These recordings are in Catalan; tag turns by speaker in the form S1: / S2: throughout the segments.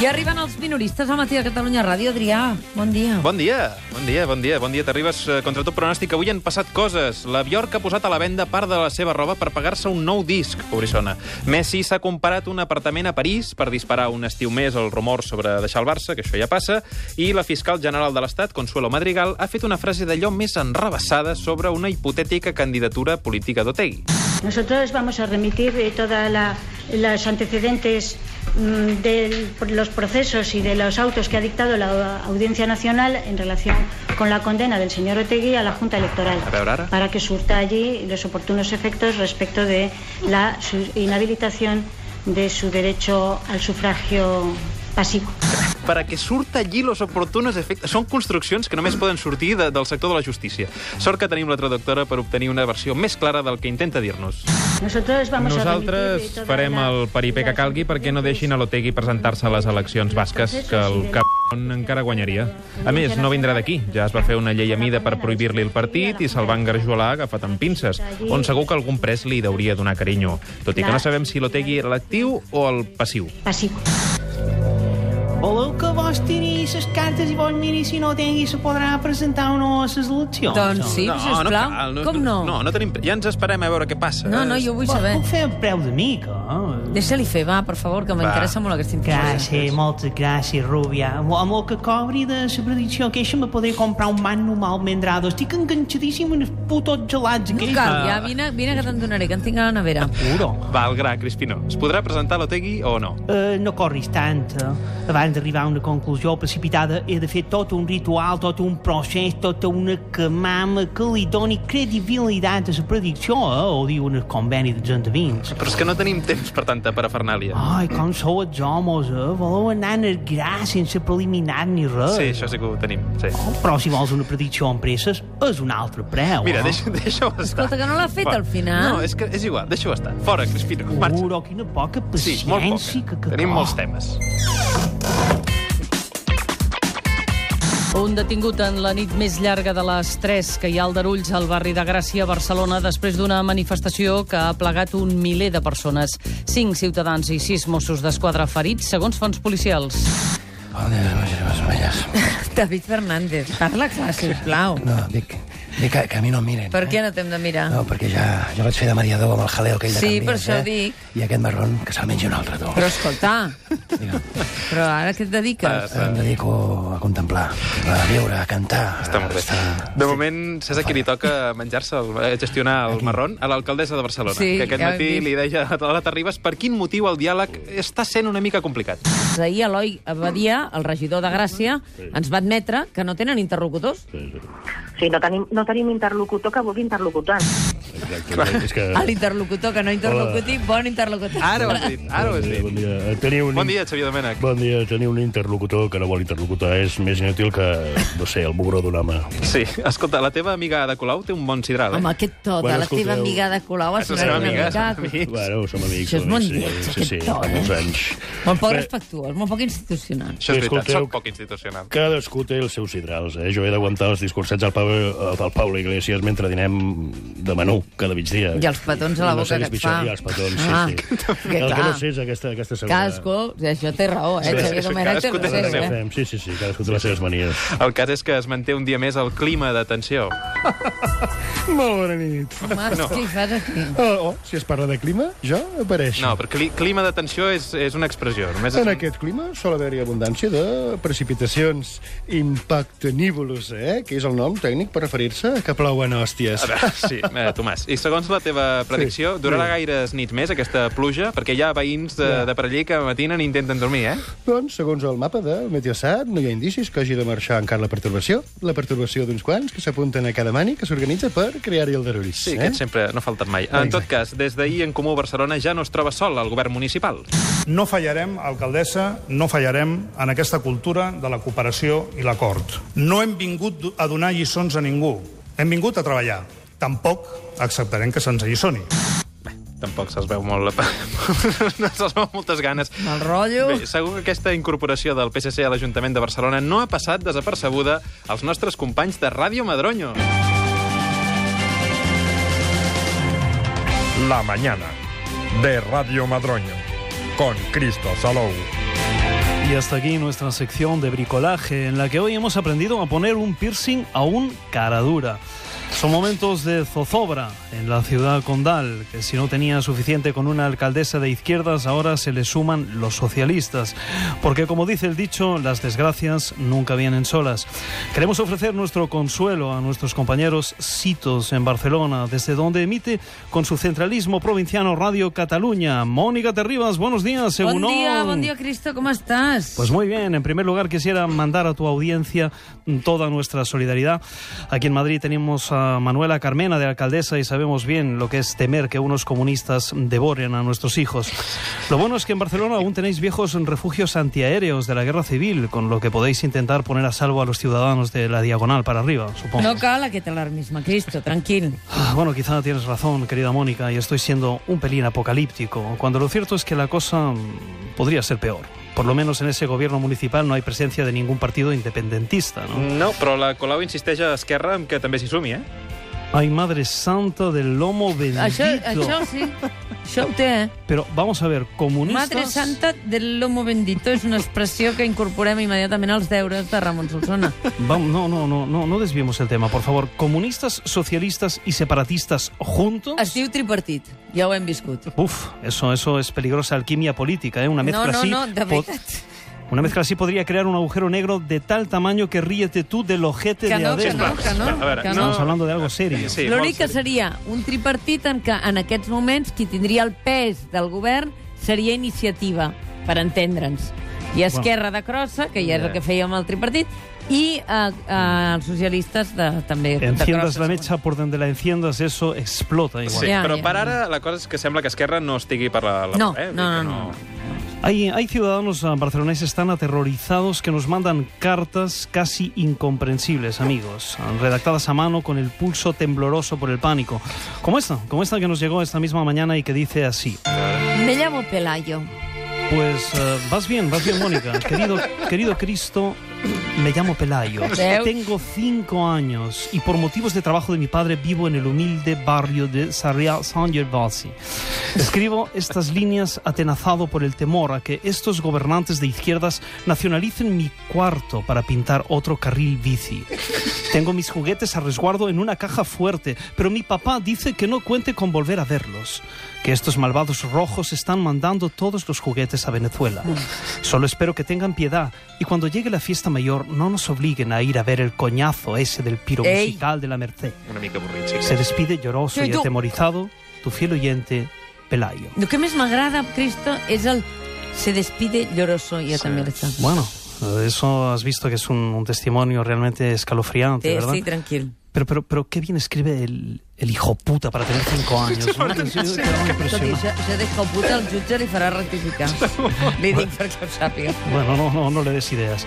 S1: Ja arriben els minoristes al matí de Catalunya Ràdio. Adrià, bon dia.
S2: Bon dia, bon dia, bon dia, bon dia. T'arribes eh, contra tot pronòstic. Avui han passat coses. La Bjork ha posat a la venda part de la seva roba per pagar-se un nou disc, pobrissona. Messi s'ha comparat un apartament a París per disparar un estiu més el rumor sobre deixar el Barça, que això ja passa, i la fiscal general de l'Estat, Consuelo Madrigal, ha fet una frase d'allò més enrabassada sobre una hipotètica candidatura política d'Otegui.
S3: Nosotros vamos a remitir eh, toda la- los antecedentes mm, de los procesos y de los autos que ha dictado la Audiencia Nacional en relación con la condena del señor Otegui a la Junta Electoral
S2: A ver, ahora.
S3: para que surta allí los oportunos efectos respecto de la su- inhabilitación de su derecho al sufragio pasivo.
S2: para que surta allí los oportunos efectes. Són construccions que només poden sortir de, del sector de la justícia. Sort que tenim la traductora per obtenir una versió més clara del que intenta dir-nos.
S3: Nosotros vamos a remitir, eh,
S4: Nosaltres
S3: toda
S4: farem
S3: la-
S4: el peripé que calgui perquè no deixin a l'Otegui presentar-se a les eleccions basques, que el cap encara guanyaria. A més, no vindrà d'aquí. Ja es va fer una llei a mida per prohibir-li el partit i se'l va engarjolar agafat amb pinces, on segur que algun pres li hauria donar carinyo, tot i que no sabem si l'Otegui era l'actiu o el passiu.
S3: pasivo.
S5: Voleu que vos tiri les cartes i vos miri si no tingui se podrà presentar o no a les eleccions?
S1: Doncs sí, sisplau.
S2: cal,
S1: Com no?
S2: No, no tenim... Ja ens esperem a veure què passa.
S1: no, no, jo vull
S5: Vos
S1: saber.
S5: puc fer el preu de mica, eh?
S1: Deixa-li fer, va, per favor, que m'interessa molt aquesta informació.
S5: Gràcies, moltes gràcies, Rubia. Amb el que cobri de la predicció aquesta me podré comprar un magnum al mendrado. Estic enganxadíssim en els putos gelats
S1: No
S5: aquells.
S1: cal, ja, vine, vine que te'n donaré, que en tinc a la nevera.
S5: Puro.
S2: Va, el gra, Crispino. Es podrà presentar l'Otegui o no?
S5: Eh, no corris tant. eh. Abans d'arribar a una conclusió precipitada he de fer tot un ritual, tot un procés, tota una camama que li doni credibilitat a la predicció, eh, o diuen el conveni dels endevins.
S2: Però és que no tenim temps per tanta parafernàlia.
S5: Ai, com sou els homes, eh? Voleu anar a gra sense preliminar ni
S1: Ah.
S5: res.
S2: Sí, això sí que ho tenim, sí.
S5: Però si vols una predicció amb presses, és un altre preu.
S2: Mira,
S5: eh?
S2: deixa-ho deixa estar.
S1: Escolta, que no l'ha fet,
S2: Fora.
S1: al final.
S2: No, és que és igual, deixa-ho estar. Fora, Crispino, marxa.
S5: Uro, quina poca
S2: Sí,
S5: paciència
S2: molt
S5: que,
S2: poca.
S5: que
S2: Tenim molts
S5: Oh.
S2: temes.
S6: Un detingut en la nit més llarga de les 3 que hi ha al Darulls, al barri de Gràcia, a Barcelona, després d'una manifestació que ha plegat un miler de persones. Cinc ciutadans i sis Mossos d'Esquadra ferits, segons fons policials.
S7: Bon dia, noches más bellas.
S1: David Fernández, parla clar, sisplau.
S7: No, dic, dic que, que a mi no em miren.
S1: Per què
S7: eh?
S1: no t'hem de mirar?
S7: No, perquè ja, ja vaig fer de mediador amb el jaleo aquell de
S1: Sí,
S7: Can
S1: per
S7: Vies,
S1: això
S7: eh?
S1: dic.
S7: I aquest marrón, que se'l mengi un altre, tu.
S1: Però escolta,
S7: Digue'm,
S1: però ara què et dediques?
S7: em dedico a contemplar, a viure, a cantar.
S2: Està molt bé.
S7: Està-
S2: De moment, saps a qui li toca menjar-se, el, eh, gestionar el marrón? A l'alcaldessa de Barcelona,
S1: Sí,
S2: que aquest
S1: ja ho hem
S2: matí
S1: vist.
S2: li deia a la Terribas per quin motiu el diàleg està sent una mica complicat.
S1: Ahir Eloi Abadia, el regidor de Gràcia, ens va admetre que no tenen interlocutors.
S8: Sí, no tenim, no tenim interlocutor que vulgui interlocutar.
S9: Exacte, és que...
S1: A
S2: Ah,
S1: Ah, l'interlocutor que no interlocuti, bon interlocutor.
S2: Ara ho has dit, ara ho has
S9: Bon
S2: dit.
S9: dia, Eh, teniu un...
S2: Bon dia, Xavier Domènech.
S9: Bon dia, tenir un interlocutor que no vol interlocutar és més inútil que, no sé, el mugró d'un home.
S2: Sí, escolta, la teva amiga Ada Colau té un bon sidral, eh?
S1: Home, aquest to de
S9: Bueno,
S1: la teva
S9: escolteu.
S1: amiga de Colau ha
S2: Això
S1: sonat
S2: són
S1: una
S2: amigues,
S1: mica...
S2: són amigues.
S9: Bueno, som amics.
S1: Això és molt
S9: amics,
S1: lleig,
S9: sí,
S1: aquest
S9: sí,
S1: to,
S9: fa
S1: eh?
S9: molts anys.
S1: Molt poc
S9: Bé.
S1: respectuós, molt poc institucional.
S2: Això és veritat,
S9: Escolteu-
S2: soc poc institucional.
S9: Cadascú té els seus hidrals, eh? Jo he d'aguantar els discursets al Pau, al Pau Iglesias mentre dinem de menú cada migdia.
S1: I els petons a la
S9: no
S1: boca
S9: sé
S1: que
S9: què
S1: et
S9: és pitjor,
S1: fa.
S9: I els petons,
S1: Ah,
S9: sí, sí.
S1: que
S9: el que
S1: clar.
S9: no sé és aquesta, aquesta segona...
S1: Cadascú, això té raó, eh?
S2: Sí,
S1: Xavier
S2: sí,
S1: Domènech té
S2: cadascú té la
S1: raó,
S2: seva.
S1: eh?
S9: Sí, sí, sí, cadascú té les seves manies.
S2: El cas és que es manté un dia més el clima de tensió.
S10: Molt bona nit.
S1: Home, què hi fas aquí?
S10: Oh, oh, si es parla de clima, jo apareixo.
S2: No, però cli clima de tensió és, és una expressió. Només és
S10: En
S2: un-
S10: aquest clima sol haver-hi abundància de precipitacions impactenívolos, eh? que és el nom tècnic per referir-se a que plouen hòsties.
S2: A veure, sí, eh, Tomàs, i segons la teva predicció,
S10: Sí,
S2: durarà
S10: sí.
S2: gaires nits més aquesta pluja? Perquè hi ha veïns de, de per allí que matinen i intenten dormir, eh?
S10: Doncs, segons el mapa de Meteosat, no hi ha indicis que hagi de marxar encara la pertorbació. La pertorbació d'uns quants que s'apunten a cada mani que s'organitza per crear-hi el darull.
S2: Sí, eh? aquests sempre no falten mai. En tot cas, des d'ahir en Comú Barcelona ja no es troba sol al govern municipal.
S11: No fallarem, alcaldessa, no fallarem en aquesta cultura de la cooperació i l'acord. No hem vingut a donar lliçons a ningú. Hem vingut a treballar. Tampoc acceptarem que se'ns alliçoni.
S2: Tampoc se'ls veu molt... no se'ls veu moltes ganes.
S1: Mal rotllo.
S2: Bé, segur que aquesta incorporació del PSC a l'Ajuntament de Barcelona no ha passat desapercebuda als nostres companys de Ràdio Madronyo.
S12: La mañana de Radio Madroño con Cristo Salou.
S5: Y hasta aquí nuestra sección de bricolaje, en la que hoy hemos aprendido a poner un piercing a un cara dura. Son momentos de zozobra en la ciudad condal, que si no tenía suficiente con una alcaldesa de izquierdas, ahora se le suman los socialistas. Porque como dice el dicho, las desgracias nunca vienen solas. Queremos ofrecer nuestro consuelo a nuestros compañeros Sitos en Barcelona, desde donde emite con su centralismo provinciano Radio Cataluña. Mónica Terribas, buenos días,
S1: Bon
S5: Egunon.
S1: dia, bon dia, Cristo, com estàs?
S5: Pues muy bien, en primer lugar quisiera mandar a tu audiencia toda nuestra solidaridad. Aquí en Madrid tenemos a Manuela Carmena de alcaldesa y sabemos bien lo que es temer que unos comunistas devoren a nuestros hijos. Lo bueno es que en Barcelona aún tenéis viejos refugios antiaéreos de la guerra civil, con lo que podéis intentar poner a salvo a los ciudadanos de la diagonal para arriba, supongo.
S1: No cal aquest alarmisme, Cristo, tranquil.
S5: Ah, Bueno, quizá tienes razón, querida Mónica, y estoy siendo un pelín apocalíptico, cuando lo cierto es que la cosa mm, podría ser peor. Por lo menos en ese gobierno municipal no hay presencia de ningún partido independentista,
S1: Mm.
S5: ¿no?
S2: No, però la Colau insisteix a Esquerra en que també s'hi sumi, eh?
S5: Ay, Madre Santa del Lomo Bendito.
S1: Això, això sí, això ho té, eh?
S5: Pero vamos a ver, comunistas...
S1: Madre Santa del Lomo Bendito és una expressió que incorporem immediatament als deures de Ramon Solsona.
S5: Vamos, no, no, no, no, no desviemos el tema, por favor. Comunistas, socialistas y separatistas juntos.
S1: Es diu tripartit, ja ho hem viscut.
S5: Uf, eso, eso es peligrosa alquimia política, ¿eh? Una mezcla
S1: No, no,
S5: así.
S1: no, de
S5: po-
S1: veritat.
S5: Una mezcla así podría crear un agujero negro de tal tamaño que ríete tú del ojete
S1: Que
S5: de
S1: no, que
S5: Adela.
S1: no, que no, A ver, que no.
S5: Estamos hablando de algo serio.
S1: Sí, L'únic que seria un tripartit en què en aquests moments qui tindria el pes del govern seria iniciativa, per entendre'ns. I Esquerra de Crossa, que ja és
S5: Eh.
S1: el que fèiem al tripartit, i eh, eh, els socialistes de, també de
S5: Enciendas
S1: Crossa.
S5: la mecha por donde la enciendas, eso explota igual.
S2: Sí, però per ara la cosa és que sembla que Esquerra no estigui per la... la
S5: No,
S2: eh?
S5: no,
S2: Vull dir que
S5: no, Hay, hay ciudadanos ah, barceloneses tan aterrorizados que nos mandan cartas casi incomprensibles, amigos, ah, redactadas a mano con el pulso tembloroso por el pánico. Como esta, como esta que nos llegó esta misma mañana y que dice así.
S1: Me llamo Pelayo.
S5: Pues eh, vas bien, vas bien, Mónica. Querido, querido Cristo, me llamo Pelayo.
S1: Deu.
S5: Tengo cinco años y por motivos de trabajo de mi padre vivo en el humilde barrio de Sarriá San Gervasi. Escribo estas líneas atenazado por el temor a que estos gobernantes de izquierdas nacionalicen mi cuarto para pintar otro carril bici. Tengo mis juguetes a resguardo en una caja fuerte, pero mi papá dice que no cuente con volver a verlos. Que estos malvados rojos están mandando todos los juguetes a Venezuela. Solo espero que tengan piedad y cuando llegue la fiesta mayor no nos obliguen a ir a ver el coñazo ese del piro
S2: Ey.
S5: musical de la Merced.
S2: no. Una mica avorrit, sí.
S5: Se despide lloroso
S1: Yo-
S5: y
S1: yo-
S5: atemorizado tu fiel oyente, Pelayo.
S1: El que més m'agrada, Cristo, és el se despide lloroso i atamerta.
S5: Bueno, eh, eso has visto que es un, un testimonio realmente escalofriante,
S1: Sí,
S5: ¿verdad?
S1: sí, tranquil.
S5: Pero, pero, pero qué bien escribe el, el hijo puta para tener cinco años. ¿no? Sí, sí, sí.
S1: Tot i això, això d'hijo puta, el jutge li farà rectificar. Li dic perquè ho sàpiga.
S5: Bueno, no, no, no le des ideas.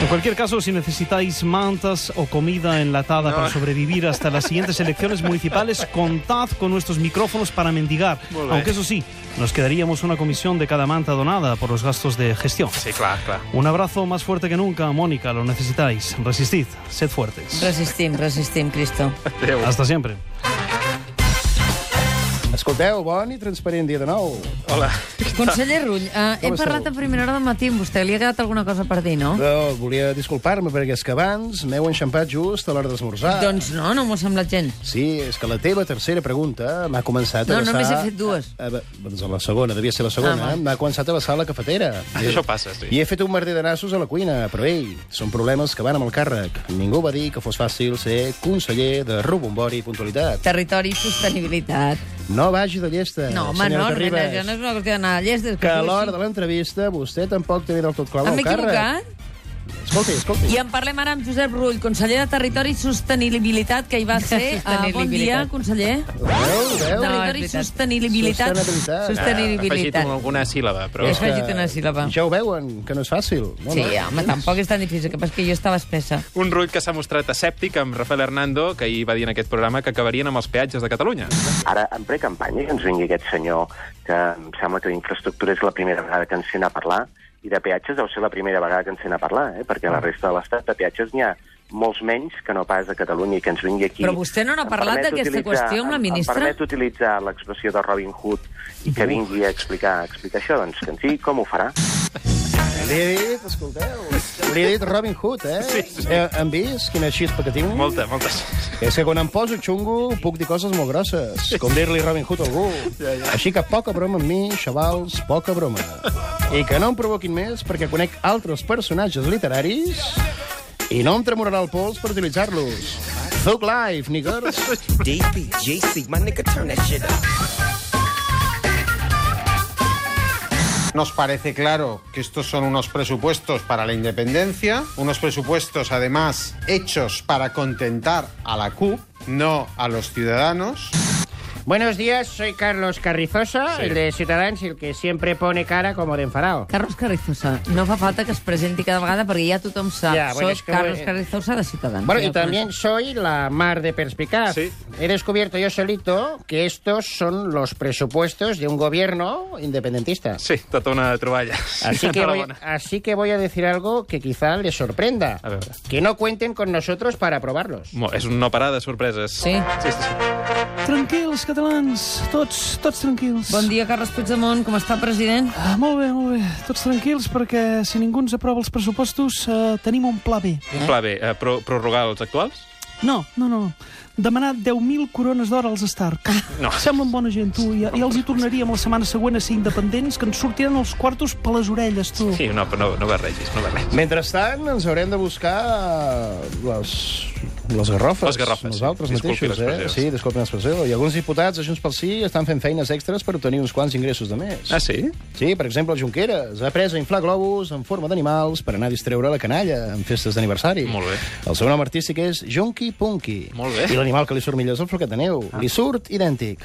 S5: En cualquier caso, si necesitáis mantas o comida enlatada para sobrevivir hasta las siguientes elecciones municipales, contad con nuestros micrófonos para mendigar.
S2: Molt bé.
S5: Aunque eso sí, nos quedaríamos una comisión de cada manta donada por los gastos de gestión.
S2: Sí, clar, clar.
S5: Un abrazo más fuerte que nunca, Mónica, lo necesitáis. Resistid, sed fuertes.
S1: Resistim, resistim, Cristo.
S5: Hasta siempre.
S7: Escolteu, bon i transparent dia de nou.
S2: Hola.
S1: Conseller Rull, eh, he
S7: Com esteu?
S1: parlat a primera hora del matí amb vostè. Li ha quedat alguna cosa per dir, no?
S7: No, volia disculpar-me perquè és que abans m'heu enxampat just a l'hora d'esmorzar.
S1: Doncs no, no m'ho ha semblat gens.
S7: Sí, és que la teva tercera pregunta m'ha començat a
S1: No,
S7: vessar...
S1: només he fet dues.
S7: A, a, doncs a la segona, devia ser la segona.
S1: Ah,
S7: Ah,
S1: val.
S7: m'ha començat a vessar la cafetera.
S2: Això passa, sí.
S7: I he fet un merder de nassos a la cuina, però ei, són problemes que van amb el càrrec. Ningú va dir que fos fàcil ser conseller de rubombori i puntualitat.
S1: Territori i sostenibilitat.
S7: No vagi de llesta,
S1: No, home,
S7: Eh, senyora
S1: no, no,
S7: Terribas.
S1: això no és una qüestió d'anar a llestes.
S7: que a l'hora de l'entrevista vostè tampoc té del tot clar
S1: Em
S7: el
S1: he
S7: càrrec.
S1: equivocat?
S7: Escolti, escolti.
S1: I en parlem ara amb Josep Rull, conseller de Territori i Sostenibilitat, que hi va ser. Uh, bon dia,
S7: Sostenibilitat.
S1: conseller.
S7: Veu, veu?
S1: Territori i Sostenibilitat.
S7: Sostenibilitat.
S2: Afegit
S1: Sostenibilitat.
S2: un- Ah, alguna síl·laba, però...
S1: He afegit una síl·laba.
S7: Ja ho veuen, que no és fàcil. No,
S1: Sí,
S7: no.
S1: home, tampoc és tan difícil, que passa que jo estava espessa.
S2: Un rull que s'ha mostrat escèptic amb Rafael Hernando, que ahir va dir en aquest programa que acabarien amb els peatges de Catalunya.
S13: Ara, en precampanya, que ens vingui aquest senyor, que em sembla que d'infraestructura és la primera vegada que ens sent a parlar, i de peatges deu ser la primera vegada que ens sent a parlar, eh? perquè
S11: Ah.
S13: a la resta de l'estat de peatges n'hi ha molts menys que no pas a Catalunya i que ens vingui aquí...
S1: Però vostè no n'ha
S13: Em
S1: parlat
S13: permet
S1: d'aquesta
S13: utilitzar-
S1: qüestió amb la
S13: em-
S1: ministra?
S13: Em permet utilitzar l'expressió de Robin Hood i que vingui a explicar, a explicar això, doncs que en sigui com ho farà.
S7: Li he dit, escolteu, li he dit Robin Hood, eh? Sí, sí. Eh, hem vist quina xispa que tinc?
S2: Molta, molta.
S7: És que quan em poso xungo puc dir coses molt grosses, com dir-li Robin Hood a algú. Ja, ja. Així que poca broma amb mi, xavals, poca broma. I que no em provoquin més perquè conec altres personatges literaris i no em tremolarà el pols per utilitzar-los. Thug Life, niggers.
S14: DPJC, my nigga, turn that shit up.
S15: Nos parece claro que estos son unos presupuestos para la independencia, unos presupuestos además hechos para contentar a la CUP, no a los ciudadanos.
S16: Buenos días, soy Carlos Carrizosa, el de Ciutadans, el que siempre pone cara como de enfadado.
S1: Carlos Carrizosa, no fa falta que es presenti cada vegada perquè ja tothom sap.
S16: Ja, bueno,
S1: Soc
S16: és que-
S1: Carlos Carrizosa de Ciutadans.
S16: Bueno,
S1: Ja
S16: y
S1: ho
S16: también soy la mar de perspicaz. He descubierto yo solito que estos son los presupuestos de un gobierno independentista.
S2: Sí, tota una troballa.
S16: Así que, voy,
S2: Enhorabona.
S16: así que voy a decir algo que quizá les sorprenda.
S2: A veure.
S16: Que no cuenten con nosotros para aprobarlos.
S2: Mo- És un no parar de sorpreses.
S1: Sí.
S2: sí, sí.
S5: Tranquils, catalans, tots, tots tranquils.
S1: Bon dia, Carles Puigdemont, com està, president?
S5: Ah, molt bé, molt bé. Tots tranquils, perquè si ningú ens aprova els pressupostos, eh, tenim un pla B.
S2: Un pla B, eh, pro prorrogar els actuals?
S5: No, no, no. Demanar 10.000 corones d'or als Stark.
S2: No.
S5: Semblen bona gent, tu. Ja, ja els hi tornaríem la setmana següent a ser independents, que ens sortiran els quartos per les orelles, tu.
S2: Sí, no, però no, no barregis, no barregis.
S7: Mentrestant, ens haurem de buscar les, les garrofes.
S2: Les garrofes,
S7: Nosaltres
S2: sí. Disculpi
S7: mateixos, eh?
S2: l'expressió.
S7: Sí, disculpi l'expressió. I alguns diputats de Junts pel Sí estan fent feines extres per obtenir uns quants ingressos de més.
S2: Ah, sí?
S7: Sí, per exemple, el Junqueras ha après Doncs a inflar globus en forma d'animals per anar a distreure la canalla en festes d'aniversari.
S2: Molt bé.
S7: El seu nom artístic és Junky Punky.
S2: Molt bé.
S7: I l'animal que li surt millor és el floquet de neu. Ah. Li surt idèntic.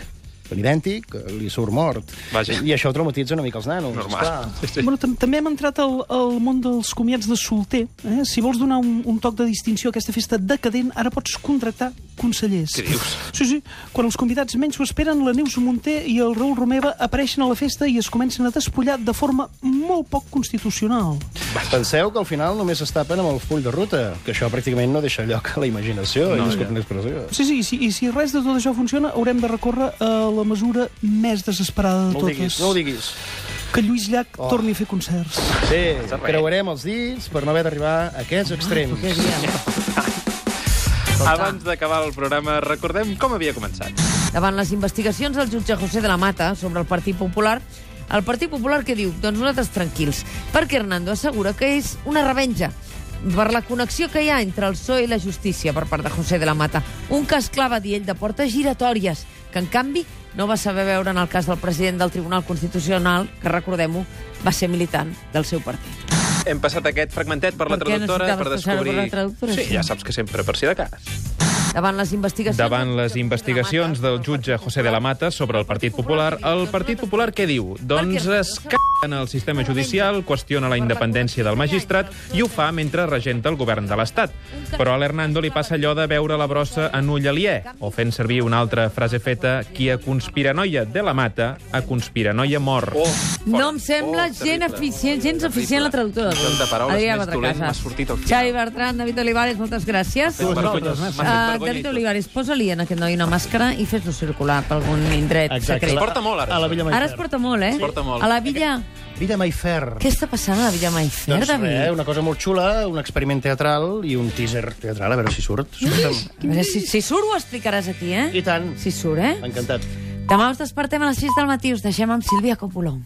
S7: Però idèntic, eh, li surt mort.
S2: Vaja.
S7: I això traumatitza una mica els nanos. esclar.
S2: Normal. Sí, sí.
S5: Bueno, tam també hem entrat al, al món dels comiats de solter. Eh? Si vols donar un, un toc de distinció a aquesta festa decadent, ara pots contractar consellers.
S2: Què dius?
S5: Sí, sí. Quan els convidats menys ho esperen, la Neus Monter i el Raül Romeva apareixen a la festa i es comencen a despullar de forma molt poc constitucional.
S7: Penseu que al final només es tapen amb el full de ruta, que això pràcticament no deixa lloc a la imaginació, eh,
S5: No,
S7: no, i disculpen l'expressió.
S5: Sí, sí, i si, i si res de tot això funciona, haurem de recórrer a la mesura més desesperada de
S7: No ho
S5: totes.
S7: diguis, no ho diguis.
S5: Que Lluís Llach oh. torni a fer concerts.
S7: Sí, creuarem els dits per no haver d'arribar a aquests
S1: Ah,
S7: extrems.
S2: Abans d'acabar el programa, recordem com havia començat.
S1: Davant les investigacions del jutge José de la Mata sobre el Partit Popular, el Partit Popular que diu, doncs nosaltres tranquils, perquè Hernando assegura que és una revenja per la connexió que hi ha entre el PSOE i la justícia per part de José de la Mata. Un cas clar, va dir ell, de portes giratòries, que en canvi no va saber veure en el cas del president del Tribunal Constitucional, que recordem-ho, va ser militant del seu partit.
S2: Hem passat aquest fragmentet per la
S1: Per què
S2: traductora
S1: necessitaves
S2: per
S1: passar-ho per
S2: descobrir...
S1: la traductora,
S2: sí,
S1: sí?
S2: ja saps que sempre, per si de cas.
S1: Davant les investigacions...
S2: Davant les investigacions del jutge José de la Mata sobre el Partit Popular, el Partit Popular què diu? Doncs es en el sistema judicial, qüestiona la independència del magistrat i ho fa mentre regenta el govern de l'Estat. Però a l'Hernando li passa allò de veure la brossa en ull aliè, o fent servir una altra frase feta, qui a conspiranoia de la Mata, a conspiranoia mor. Oh,
S1: No em sembla oh, gent eficient, gens eficient la traductora.
S2: Joc de paraules
S1: Adrià
S2: més
S1: Batracasa.
S2: dolent m'ha sortit al final.
S1: Xavi Bertran, David Olivares, moltes gràcies.
S2: M'ha fet vergonya, m'ha fet
S1: Ah,
S2: vergonya i
S1: David
S2: tot.
S1: Olivares, posa-li en aquest noi una màscara i fes-lo circular per algun indret secret.
S2: Es porta molt, ara.
S7: A la Villa
S1: Ara es porta molt, eh?
S7: Es porta
S1: A
S7: molt.
S1: la Villa...
S7: Villa Mayfair.
S1: Què està passant a la Villa Mayfair,
S7: Doncs
S1: David?
S7: res, una cosa molt xula, un experiment teatral i un teaser teatral, a veure si surt. Escolta'm,
S1: A veure, si, si surt ho explicaràs aquí, eh?
S7: I tant.
S1: Si surt, eh?
S7: encantat.
S1: Demà us despertem a les 6 del matí, us deixem amb Sílvia Copolom.